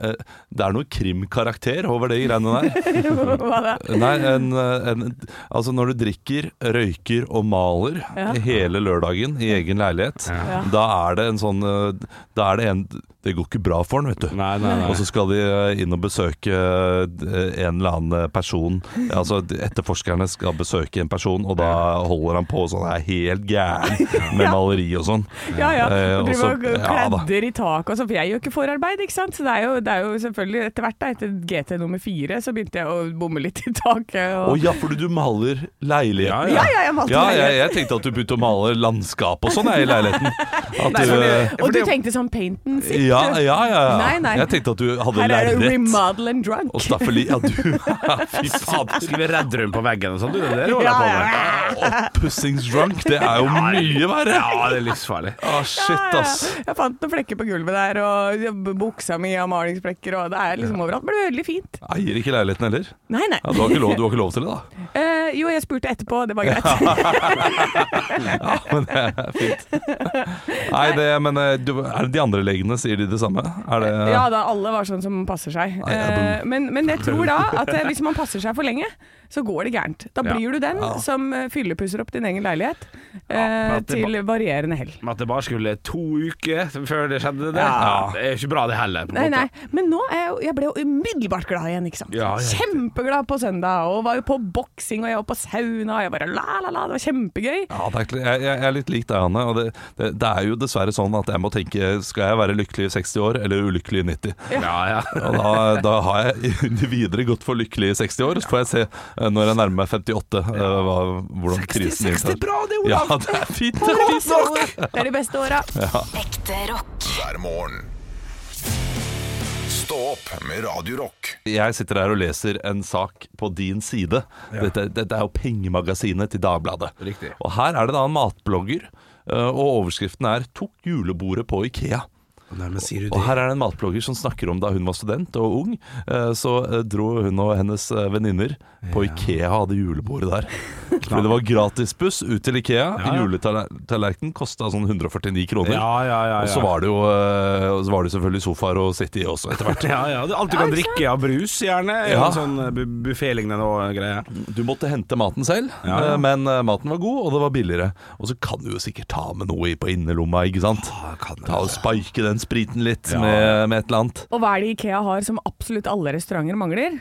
E: eh, det er noe krimkarakter over det greiene der. eh,
C: Hva da?
E: Nei, en, en, altså når du drikker, røyker og maler
C: Ja.
E: hele lørdagen i egen leilighet,
D: Ja.
E: da er det en sånn eh, Da er det en Det går ikke bra for den, vet du.
D: Nei, nei, nei.
E: Og så skal de eh, inn og besøke eh, en eller annen eh, person. Altså de- Etterforskerne skal besøke en person, og da holder han på sånn er helt
C: [laughs]
E: gæren med maleri og sånn.
C: Ja, ja.
E: Eh,
C: Og
E: og
C: driver
E: så-
C: og
E: ja da.
C: kladder i taket og sånn, for jeg gjør ikke forarbeid, ikke sant. Så det er jo, det er jo selvfølgelig etter hvert, da, etter GT nummer fire, så begynte jeg å bomme litt i taket.
E: Å
C: Og...
E: ja, fordi du maler
D: Ja,
E: leiligheten.
C: Ja,
D: ja.
C: ja, jeg malte
E: Ja,
C: meg.
E: jeg, jeg tenkte at du begynte å male landskap og sånn jeg, i
C: [laughs]
E: leiligheten. At
D: Nei,
E: du,
D: fordi-
E: eh,
D: for
C: Og du
D: det-
C: tenkte sånn paint and sip.
E: ja, ja, ja,
C: Nei,
E: ja.
C: nei.
E: Jeg tenkte at du hadde
C: Her er det
E: lerret
C: remodel and drunk. [laughs]
E: og staffeli. Ja, du [laughs] Fy fader.
D: Skrive Redrum på veggen og sånn, du. Det er det du holder
C: Ja,
D: på
C: ja,
D: med.
E: Oppussingsdrunk, det er jo mye verre.
D: Ja, det er livsfarlig.
E: Å, shit, ass.
C: Jeg fant noen flekker på gulvet der, og buksa mi har malingsflekker, og det er liksom overalt. Men det er veldig fint.
E: Eier ikke leiligheten heller.
C: Nei, nei.
E: Ja, du, har ikke lov, du har ikke lov til det, da.
C: Eh, jo, jeg spurte etterpå, det var greit.
E: Ja, men det er fint. Nei, det, men eh, du, er det de andre legene, sier de det samme? Er det
C: Ja da, alle var sånn som passer seg.
E: Nei, ja,
C: Eh,
E: boom.
C: men, men jeg tror da at eh, hvis man passer seg for lenge, så går det gærent. Da
D: Ja.
C: blir du den
E: Ja.
C: som eh, fyllepusser opp din egen leilighet
D: men
C: eh,
D: at det
C: til varierende hell.
D: Men at det bare skulle to uker før det skjedde, det,
E: Ja.
D: det er jo ikke bra, det heller. På en
C: Nei, nei.
D: måte.
C: Men nå er jeg, jo- jeg ble jo umiddelbart glad igjen, ikke sant.
D: Ja, jeg-
C: Kjempeglad på søndag, og var jo på boksing, og jeg og på sauna, og jeg bare la, la, la. Det var kjempegøy.
E: [laughs] Ja, det er, kl- jeg, jeg jeg er litt lik deg, Hanne. Og det, det, det er jo dessverre sånn at jeg må tenke Skal jeg være lykkelig i 60 år eller ulykkelig i 90?
D: Ja, ja.
E: Og da, da har jeg videre gått for lykkelig i 60 år. Så får jeg se eh, når jeg nærmer meg 58 eh, hva, hvordan krisen inntar.
D: bra, det,
E: Ja, det er fint! Det er fint.
C: Det er de beste åra.
A: Ekte rock.
B: hver morgen. Stå opp med Radio Rock.
E: Jeg sitter her og leser en sak på din side. Dette, dette er jo pengemagasinet til Dagbladet.
D: Riktig.
E: Og her er det da en matblogger, eh, og overskriften er 'Tok julebordet på Ikea'.
D: Nei, men sier du
E: Og
D: det?
E: her er det en matblogger som snakker om da hun var student og ung, eh, så eh, dro hun og hennes eh, venninner på Ikea og hadde julebordet
D: [laughs]
E: der. Fordi det var gratisbuss ut til Ikea.
D: Ja, ja.
E: Juletallerkenen kosta sånn 149 kroner.
D: Ja, ja, ja, ja.
E: Og så var det jo eh, og så var det selvfølgelig sofaer å sitte i også etter hvert.
D: Ja, ja, det er Alt du kan drikke av brus, gjerne. Ja.
E: Ja.
D: Sånn bu- buffé-lignende og greier.
E: Du måtte hente maten selv,
D: Ja, ja.
E: eh, men eh, maten var god, og det var billigere. Og så kan du jo sikkert ta med noe i på innerlomma, ikke sant?
D: kan du
E: Ta og Spike den spriten litt
D: Ja.
E: med, med et eller annet.
C: Og hva er det Ikea har som absolutt alle restauranter mangler?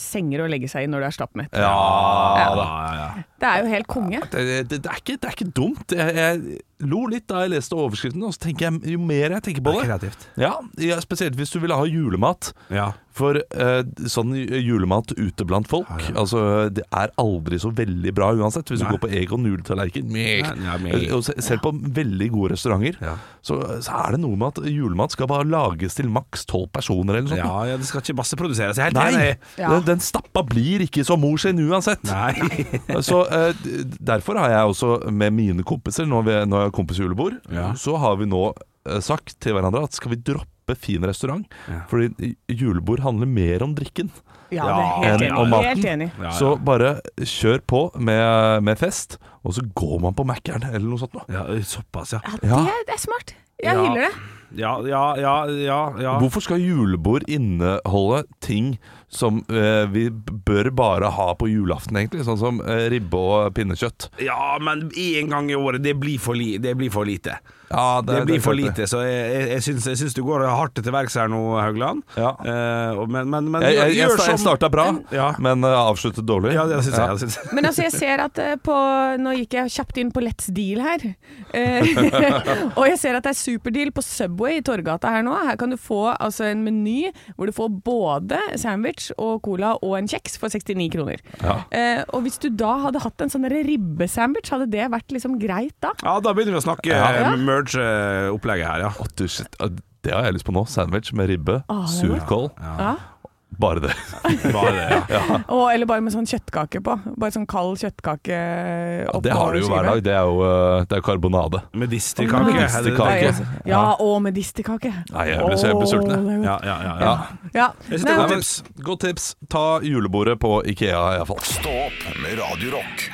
C: Senger å legge seg i når du er stappmett.
E: Ja da.
C: Det er jo helt konge.
E: Det, det, det, er ikke, det er ikke dumt. Jeg, jeg lo litt da jeg leste overskriften, og så tenker jeg jo mer jeg tenker på det
D: Kreativt.
E: ja, ja, Spesielt hvis du ville ha julemat.
D: Ja.
E: For eh, sånn julemat ute blant folk Altså, Det er aldri så veldig bra uansett. Hvis
D: Nei.
E: du går på Egon Nudeltallerken Eh,
D: Nei, ja, meg.
E: Og se- Selv på veldig gode restauranter
D: Ja.
E: så, så er det noe med at julemat skal bare lages til maks tolv personer eller noe
D: ja,
E: sånt.
D: ja, det skal ikke masseproduseres. Jeg er helt
E: Nei!
D: enig.
C: Ja.
E: Den, den stappa blir ikke som mor sin uansett.
D: Nei.
E: [laughs]
D: [laughs]
E: Så eh, d- Derfor har jeg også med mine kompiser Når, vi, når jeg har kompisjulebord
D: Ja.
E: Så har vi nå eh, sagt til hverandre At skal vi droppe fin restaurant
D: Ja.
E: Fordi eh, julebord handler mer om drikken
C: Ja, det er helt
E: enn om
C: enig.
E: maten
C: Helt enig.
D: Ja,
E: Så bare kjør på med, med fest Og så går man på Mac'eren Eller noe sånt nå.
D: ja, såpass, ja.
C: Ja, det,
E: Ja.
C: er- det er smart. Jeg
D: Ja.
C: hyller det.
D: Ja, ja, ja, ja, ja.
E: Hvorfor skal julebord inneholde ting Som eh, vi b- bør bare ha på julaften egentlig Sånn som eh, ribbe og pinnekjøtt
D: Ja, men én gang i året, det blir for, li det blir for lite.
E: ja,
D: Det, blir for
E: klart
D: lite,
E: det.
D: så jeg, jeg, jeg, syns, jeg syns du går hardt til verks her nå, Haugland.
E: Ja.
D: Eh, og- men, men, men
E: jeg, jeg, jeg,
D: gjør
E: sta- jeg
D: som-
E: startet bra,
D: Ja.
E: men eh, avsluttet dårlig
D: Ja, det syns jeg.
E: Ja.
D: det syns jeg.
C: Men altså, jeg ser at eh, på Nå gikk jeg kjapt inn på Let's Deal her. Eh, [laughs] og jeg ser at det er superdeal på Subway i Torgata her nå. Her kan du få altså, en meny hvor du får både sandwich og cola og en kjeks for 69 kroner.
E: Ja.
C: Eh, og hvis du da hadde hatt en sånn der ribbesandwich, hadde det vært liksom greit da?
D: Ja, da begynner vi å snakke
E: Ja.
D: eh, merge-opplegget her, ja.
E: Å, du, shit. Å, Det har jeg lyst på nå. Sandwich med ribbe,
C: Å, det er
E: surkål.
C: Ja.
E: Bare det.
D: Bare det, ja.
C: Og, eller bare med sånn kjøttkake på. Bare sånn kald kjøttkake oppå
E: [laughs] Det har du jo hver
C: skive.
E: dag. Det er jo, eh, det er jo karbonade.
D: Medisterkake.
E: Medisterkake.
D: Ja,
C: Ja, og medisterkake.
E: Nei, jeg ble så jeg ble
C: Åh,
E: sulten, jeg.
C: det er godt.
D: ja, ja. ja.
E: Ja.
C: Ja.
D: Jeg synes
C: Nei,
D: det var
C: men-
E: Nei, men Godt tips. Ta julebordet på Ikea, iallfall.
B: Stå opp med Radio Rock.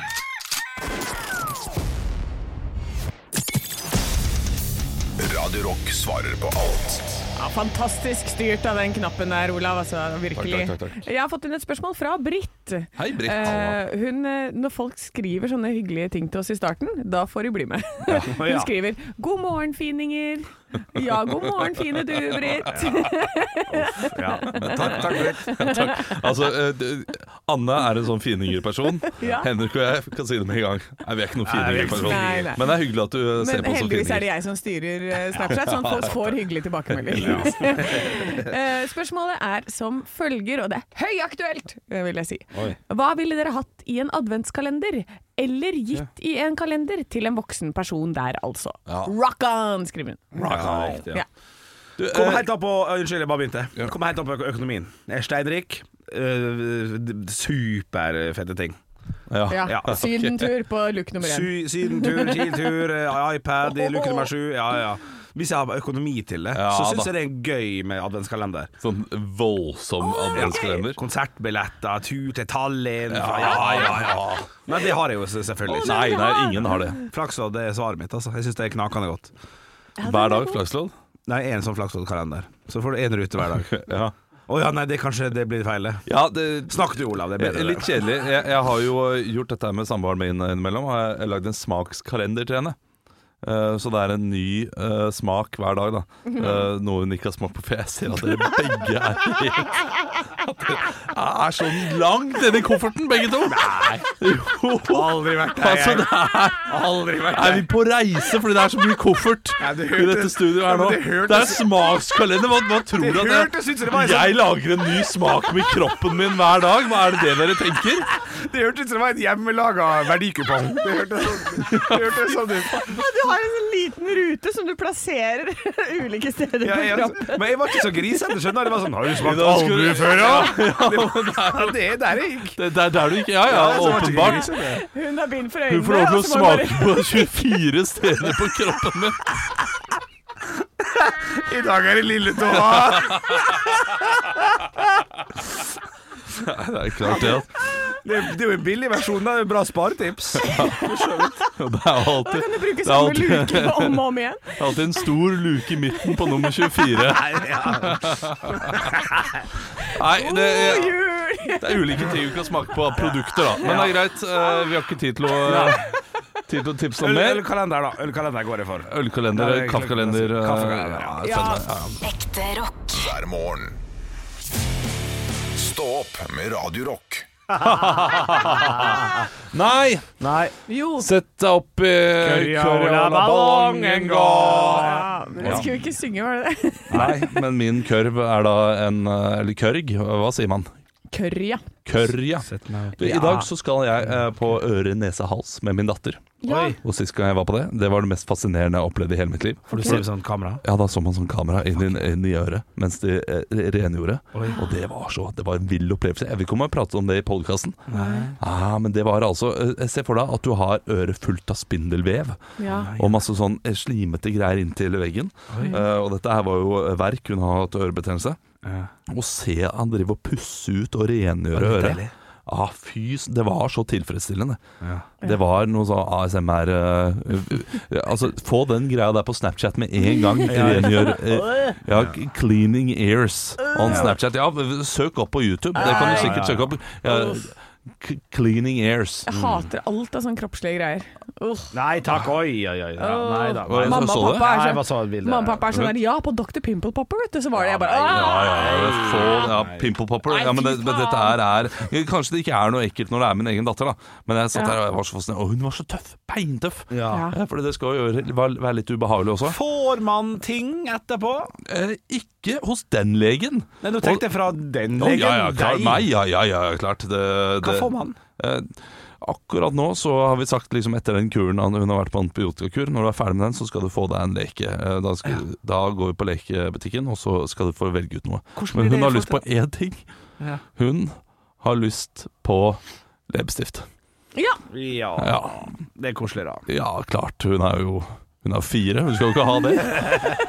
B: Radio Rock svarer på alt
C: Ja, fantastisk styrt av den knappen der, Olav. Altså, virkelig.
E: Takk, takk, takk, takk.
C: Jeg har fått inn et spørsmål fra Britt.
E: Hei, Britt.
C: Eh, hun, eh, når folk skriver sånne hyggelige ting til oss i starten, da får de bli med.
D: [laughs]
C: hun
D: Ja.
C: skriver 'God morgen, fininger'. Ja, god morgen, fine du,
E: [laughs]
C: Britt.
D: Ja. Takk, takk, Britt.
E: Altså, eh, det- Anne er en sånn fingerperson.
C: Ja.
E: Henrik og jeg kan si det med en gang. Nei, vi er ikke noen
D: Nei, vi er ikke noen
C: Nei, nei.
E: fingerperson. Men det er hyggelig at du eh, ser
C: Men
E: på oss som
C: heldigvis er det
E: fininger.
C: jeg som styrer eh, Snapchat, sånn
E: [laughs]
C: at folk får hyggelige tilbakemeldinger. [laughs] Eh, Spørsmålet er som følger, og det er høyaktuelt, eh, vil jeg si.
D: Oi.
C: Hva ville dere hatt i en adventskalender? Eller gitt i en kalender til en voksen person der, altså.
E: Ja.
C: Rock on, skriver hun.
D: Ja, riktig, ja.
C: Ja.
E: Du, eh,
D: Kom helt an på Unnskyld, jeg bare begynte. Kom helt an på øko- økonomien. Jeg er steinrik. øh, d- d- Superfette ting.
E: ja.
C: Ja.
D: Ja, ok.
C: Sydentur på look nummer én.
D: Sy sydentur, [laughs] Kiel-tur, eh, iPad i luke nummer sju. Ja, ja. Hvis jeg har økonomi til det,
E: Ja,
D: så syns
E: da.
D: jeg det er gøy med adventskalender.
E: Sånn voldsom adventskalender.
D: Konsertbilletter, tur til Tallinn
E: Ja,
D: fra-
E: ja, ja, ja.
D: Men det har jeg jo s- selvfølgelig ikke.
E: Nei, nei, ingen har det.
D: Flakslodd det er svaret mitt, altså. Jeg syns det er knakende godt.
E: Hver dag flakslodd.
D: Nei, én sånn flaksloddkalender. Så får du én rute hver dag.
E: [laughs] Ja.
D: Å ja, nei, det kanskje det blir feil. det.
E: Ja, det,
D: Snakk du, Olav. Det er bedre. det.
E: Litt kjedelig. Jeg, jeg har jo eh, gjort dette her med samboeren min eh, innimellom. Har jeg lagd en smakskalender til henne. Eh, så det er en ny eh, smak hver dag, da. Eh, noe hun ikke har smakt på, for jeg ser at dere begge er helt er sånn langt nedi kofferten, begge to. Nei. Jo.
D: Aldri vært der,
E: Altså,
D: jeg.
E: det er,
D: Aldri vært
E: er vi på reise fordi det er så mye koffert
D: Ja, det
E: i dette
D: hørtes-
E: studioet her
D: Ja,
E: nå?
D: men det hørtes-
E: Det er smakskalender. Hva, hva tror
D: Det
E: du at
D: hørtes ut som det var
E: jeg
D: en sånn-
E: Jeg lager en ny smak med kroppen min hver dag. Hva er det det dere tenker?
D: Det hørtes ut som det var et hjemmelaga verdikupong. Det hørtes sånn, det hørtes sånn ut.
C: Du har en sånn liten rute som du plasserer [laughs] ulike steder
D: Ja,
C: på
D: jeg, altså,
C: kroppen.
D: men jeg var ikke så grisete, skjønner du. Det var sånn Har du smakt
E: Da skulle-
D: albue før, da? Ja, det er der det gikk.
E: Det, det er der du ikke Ja ja,
D: Ja, så var det ikke
E: åpenbart.
D: grisete.
C: Hun har bind for øynene.
E: Hun får lov til
C: og
E: å
C: så må hun bare- [laughs]
E: smake på [laughs] 24 steder på kroppen min.
D: I dag er det lille tåa.
E: Det er klart det. altså. at-
D: Det, det er jo en billig versjon. da. Det er jo Bra sparetips.
E: Det er alltid,
C: Kan du bruke
E: det er
C: samme
E: alltid,
C: luke om og om igjen?
E: alltid en stor luke i midten på nummer 24. Nei, det
C: God
E: er,
C: jul!
E: det er ulike ting du kan smake på av produkter, da. Men det er greit. eh, Vi har ikke tid til å, eh, tid til å tipse om
D: Øl-
E: mer.
D: Ølkalender, da. Ølkalender går jeg for.
E: Ølkalender,
D: Nei,
E: kaffekalender eh,
D: altså. kaffekalender, ja.
E: ja, fett, ja.
A: Ekte rock.
B: hver morgen. Stå opp med Radio Rock.
E: Nei!
F: Nei.
C: Jo,
E: Sett deg opp i
F: Corona-ballongen
E: går.
C: ja, men vi skulle jo ikke synge, var det [laughs] det?
E: Nei, men min kørv er da en eh, Eller kørg, hva sier man?
C: Kørja.
E: Kørr, ja. Du, I dag så skal jeg eh, på øre, nese, hals med min datter.
C: Ja.
D: Oi.
E: Og sist gang jeg var på det, det var det mest fascinerende jeg opplevde i hele mitt liv.
D: Får du se på sånn kamera?
E: Ja, da så man sånn kamera inn, i- inn i øret mens de eh, rengjorde. Og det var så Det var en vill opplevelse. Jeg vil ikke om jeg pratet om det i podkasten. Ah, men det var altså eh, Se for deg at du har øret fullt av spindelvev
C: Ja.
E: og masse sånn eh, slimete greier inntil veggen. Eh, og dette her var jo eh, verk, hun har hatt ørebetennelse. Å se han drive og pusse ut og rengjøre
D: Var det
E: øret.
D: deilig?
E: Ah, fy, s- det var så tilfredsstillende.
D: Ja.
E: Det var noe sånn ASMR eh, eh, Altså, få den greia der på Snapchat med en
D: [laughs]
E: gang. Rengjør eh, Ja, k- 'Cleaning Ears' on Snapchat. Ja, v- søk opp på YouTube. Det kan du sikkert søke opp. Ja, k- 'Cleaning Ears'.
C: Jeg hater alt av sånne kroppslige greier. Uff.
F: Nei takk, oi, oi, oi. Ja, Nei da.
E: Hva-
F: Nei,
C: Mamma
E: så
C: og
E: det?
C: pappa
F: Nei,
C: er
F: hva
C: sånn
F: sa bildet?
C: Mamma og pappa er sånn der, ja, på Dr. Pimple Popper, vet du, så var det jeg bare
E: Ja,
C: «Ah!»
E: ja, ja, få, ja Pimple popper. Ja, men, det, men dette her er Kanskje det ikke er noe ekkelt når det er min egen datter, da. Men jeg satt
C: Ja.
E: der og jeg var så fascinert. Og hun var så tøff! Beintøff!
F: Ja.
C: Ja.
E: Ja, Fordi det skal jo gjøre- være være litt ubehagelig også.
D: Får man ting etterpå?
E: Eh, ikke hos den legen.
D: Nei, du tenkte fra den
E: Å,
D: legen.
E: ja, ja, klart,
D: deg.
E: meg, ja, ja, ja, ja, klart. Det,
D: Hva
E: det-
D: får man?
E: Eh, akkurat nå så har vi sagt liksom etter den kuren han- hun har vært på antibiotikakur, når du er ferdig med den, så skal du få deg en leke. Eh, Da, skal, da går vi på lekebutikken, og så skal du få velge ut noe.
D: Hvordan
E: Men
D: blir det
E: hun har
D: i
E: lyst på
D: forhold
E: én ting.
D: Ja.
E: Hun har lyst på leppestift.
C: Ja.
D: Ja,
E: Ja,
D: det er koselig, da.
E: ja, klart. Hun er jo hun er fire, hun skal jo ikke ha det.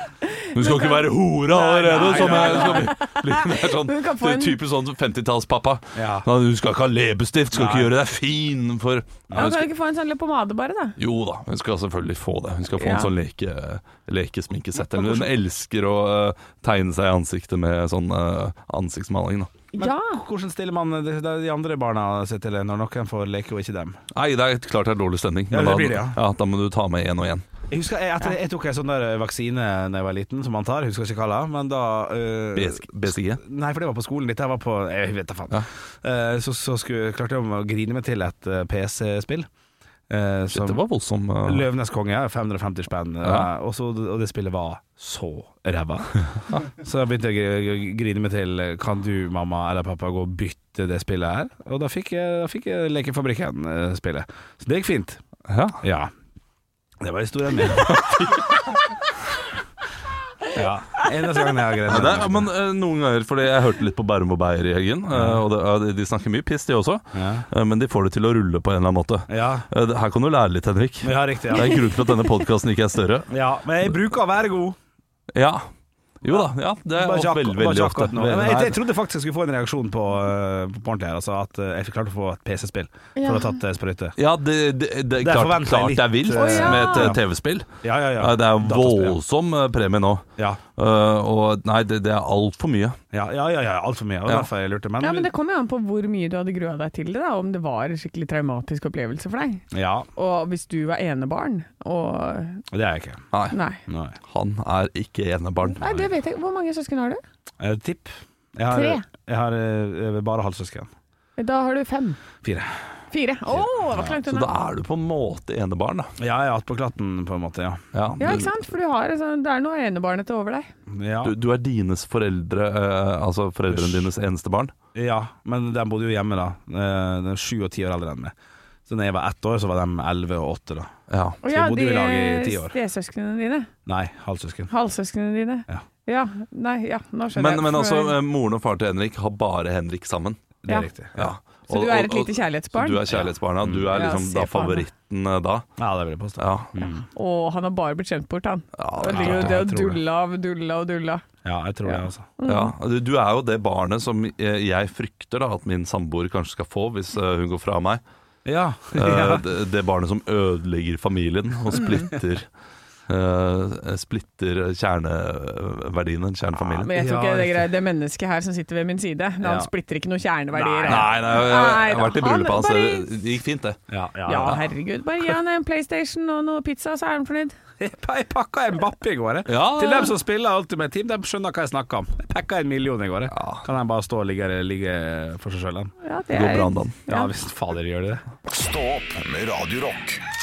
E: Hun skal ikke være hore allerede,
D: nei,
E: som
D: nei,
E: er, som blir- hun er sånn,
C: Hun kan få
E: det er
C: en-
E: typisk sånn 50-tallspappa.
D: Ja.
E: Nei, Du skal ikke ha leppestift, skal ikke gjøre deg fin for
C: Ja,
E: hun
C: Kan du
E: skal,
C: ikke få en sånn leppepomade, bare, da?
E: Jo da, hun skal selvfølgelig få det. Hun skal få
C: Ja.
E: en sånn leke, lekesminkesett. Eller Hun elsker å øh, tegne seg i ansiktet med sånn øh, ansiktsmaling. Da.
C: Ja.
D: Hvordan stiller man de, de andre barna seg til det når noen får leke og ikke dem?
E: Nei, det er klart det er dårlig stemning,
D: Ja, det
E: men da,
D: blir det, ja.
E: da må du ta med én og én.
D: Jeg husker jeg, etter, jeg tok en sånn der vaksine da jeg var liten, som man tar. Husker ikke hva det var, men da øh,
E: BCG.
D: Nei, for det var på skolen. Dette her var på Jeg vet da faen.
E: Ja.
D: Eh, så så skulle, klarte jeg å grine meg til et eh, PC-spill. eh, som-
E: Dette var voldsom øh,
D: Løvenes konge, 550 spenn.
E: Ja.
D: eh, Og, så, og det spillet var så
E: [laughs]
D: ræva. så jeg begynte å gri- grine meg til eh, Kan du, mamma eller pappa, gå og bytte det spillet her? Og da fikk jeg, da fikk jeg Lekefabrikken-spillet. Så det gikk fint.
E: ja.
D: Ja. Det var historien
E: [laughs]
D: min. ja. Eneste gangen jeg har
E: Ja,
D: greid
E: det er, men eh, noen ganger, fordi jeg hørte litt på Bærum og Beyer i helgen, eh, og det, ja, de- de snakker mye piss de også,
D: Ja.
E: eh, men de får det til å rulle på en eller annen måte.
D: Ja.
E: Eh, det- Her kan du lære litt, Henrik.
D: ja, riktig.
E: Det er
D: Ja.
E: en grunn til at denne podkasten ikke er større.
D: ja. Men jeg bruker å være god.
E: Ja. Jo da, ja, det er
D: Bare ikke
E: ofte,
D: akkurat- bare
E: veldig, veldig
D: ikke
E: ofte.
D: akkurat nå. Men jeg, jeg
E: Nei,
D: trodde faktisk jeg skulle få en reaksjon på, eh, på ordentlig her. Altså at eh, jeg fikk klart å få et PC-spill for
C: Ja.
D: å ha tatt eh, sprøyte.
E: Ja, det, det, det,
D: Det
E: er
D: er
E: klart,
D: forventet
E: klart
D: litt,
E: det er vilt
D: eh,
C: Å,
E: med
C: ja.
E: et eh, TV-spill.
D: Ja, ja, ja.
E: Eh, Det er en
D: Dataspill, ja.
E: voldsom eh, premie nå.
D: Ja,
E: Eh, og nei, det, det er altfor mye.
D: ja, ja, ja, ja altfor mye. Og
E: Ja.
D: derfor jeg lurte. Men,
C: ja, men det kommer jo an på hvor mye du hadde grua deg til det, da. Om det var en skikkelig traumatisk opplevelse for deg.
D: ja,
C: Og hvis du var enebarn, og
D: det er jeg ikke.
E: Nei,
C: Nei.
D: Nei.
E: han er ikke enebarn.
C: Nei, det vet jeg Hvor mange søsken har du?
D: Eh, tipp. Jeg har,
C: Tre.
D: Jeg har eh, bare halvsøsken.
C: Da har du fem.
D: Fire.
C: Fire. Å, det var ikke langt
E: Så da
C: unna.
E: er du på en måte enebarn, da.
D: Ja, jeg er på klatten, på en måte. Ja.
E: Ja,
C: Ja, ikke sant? For du har, altså, det er noe enebarnete over deg.
D: Ja,
E: Du, du er dines foreldre, eh, altså foreldrene dines eneste barn.
D: ja men de bodde jo hjemme, da. Eh, De er sju og ti år eldre enn meg. Så da jeg var ett år, så var de elleve og åtte, da.
E: Ja.
C: Og
D: Så
C: ja,
D: bodde
C: de
D: vi i lag i ti år.
C: stesøsknene dine.
D: Nei, halvsøsken.
C: Halvsøsknene dine.
D: Ja.
C: Nei, ja, nå skjønner
E: Men,
C: jeg.
E: men altså, eh, moren og faren til Henrik har bare Henrik sammen.
D: Det
C: Ja.
D: er riktig. Ja,
E: Ja.
C: Så du er et lite
E: Så
C: kjærlighetsbarn?
E: du er kjærlighetsbarna. Du er
C: Ja,
E: liksom
C: se
E: da
C: faen meg.
E: favoritten eh, da.
D: det vil jeg påstå. Mm.
E: Ja.
C: Og han har bare blitt skjemt bort, han.
E: Ja,
C: det ligger jo
D: klart,
C: det
D: jeg
C: og
D: tror det.
C: dulla og dulla og dulla.
D: Ja, jeg tror det, altså.
E: Ja, du, du er jo det barnet som eh, jeg frykter da, at min samboer kanskje skal få hvis eh, hun går fra meg.
D: Ja.
C: [laughs]
E: Eh,
D: ja.
E: det, det barnet som ødelegger familien og splitter,
C: Mm.
E: eh, splitter kjerneverdiene, kjernefamilien.
C: Men jeg tror
D: Ja,
C: ikke det er
D: riktig.
C: greit. Det mennesket her som sitter ved min side, han
D: Ja.
C: splitter ikke noen kjerneverdier.
E: Nei, nei, jeg, jeg har
C: Nei,
E: vært i
C: da, han
E: bryllupet hans.
C: bare-
E: det- Det gikk fint, det.
D: ja, ja,
C: Ja, herregud. Bare gi han en PlayStation og noe pizza, så er han fornøyd.
D: [laughs] Jeg pakka en bappe i går. jeg.
E: Ja.
D: Til dem som spiller Ultimate Team, de skjønner hva jeg snakker om. Jeg pakka en million i går. jeg.
E: Ja.
D: Kan de bare stå og ligge, ligge for seg sjøl, den?
C: Ja,
E: Det går bra, Dan.
D: Ja, hvis fader gjør de det.
B: Stå opp med Radio Rock.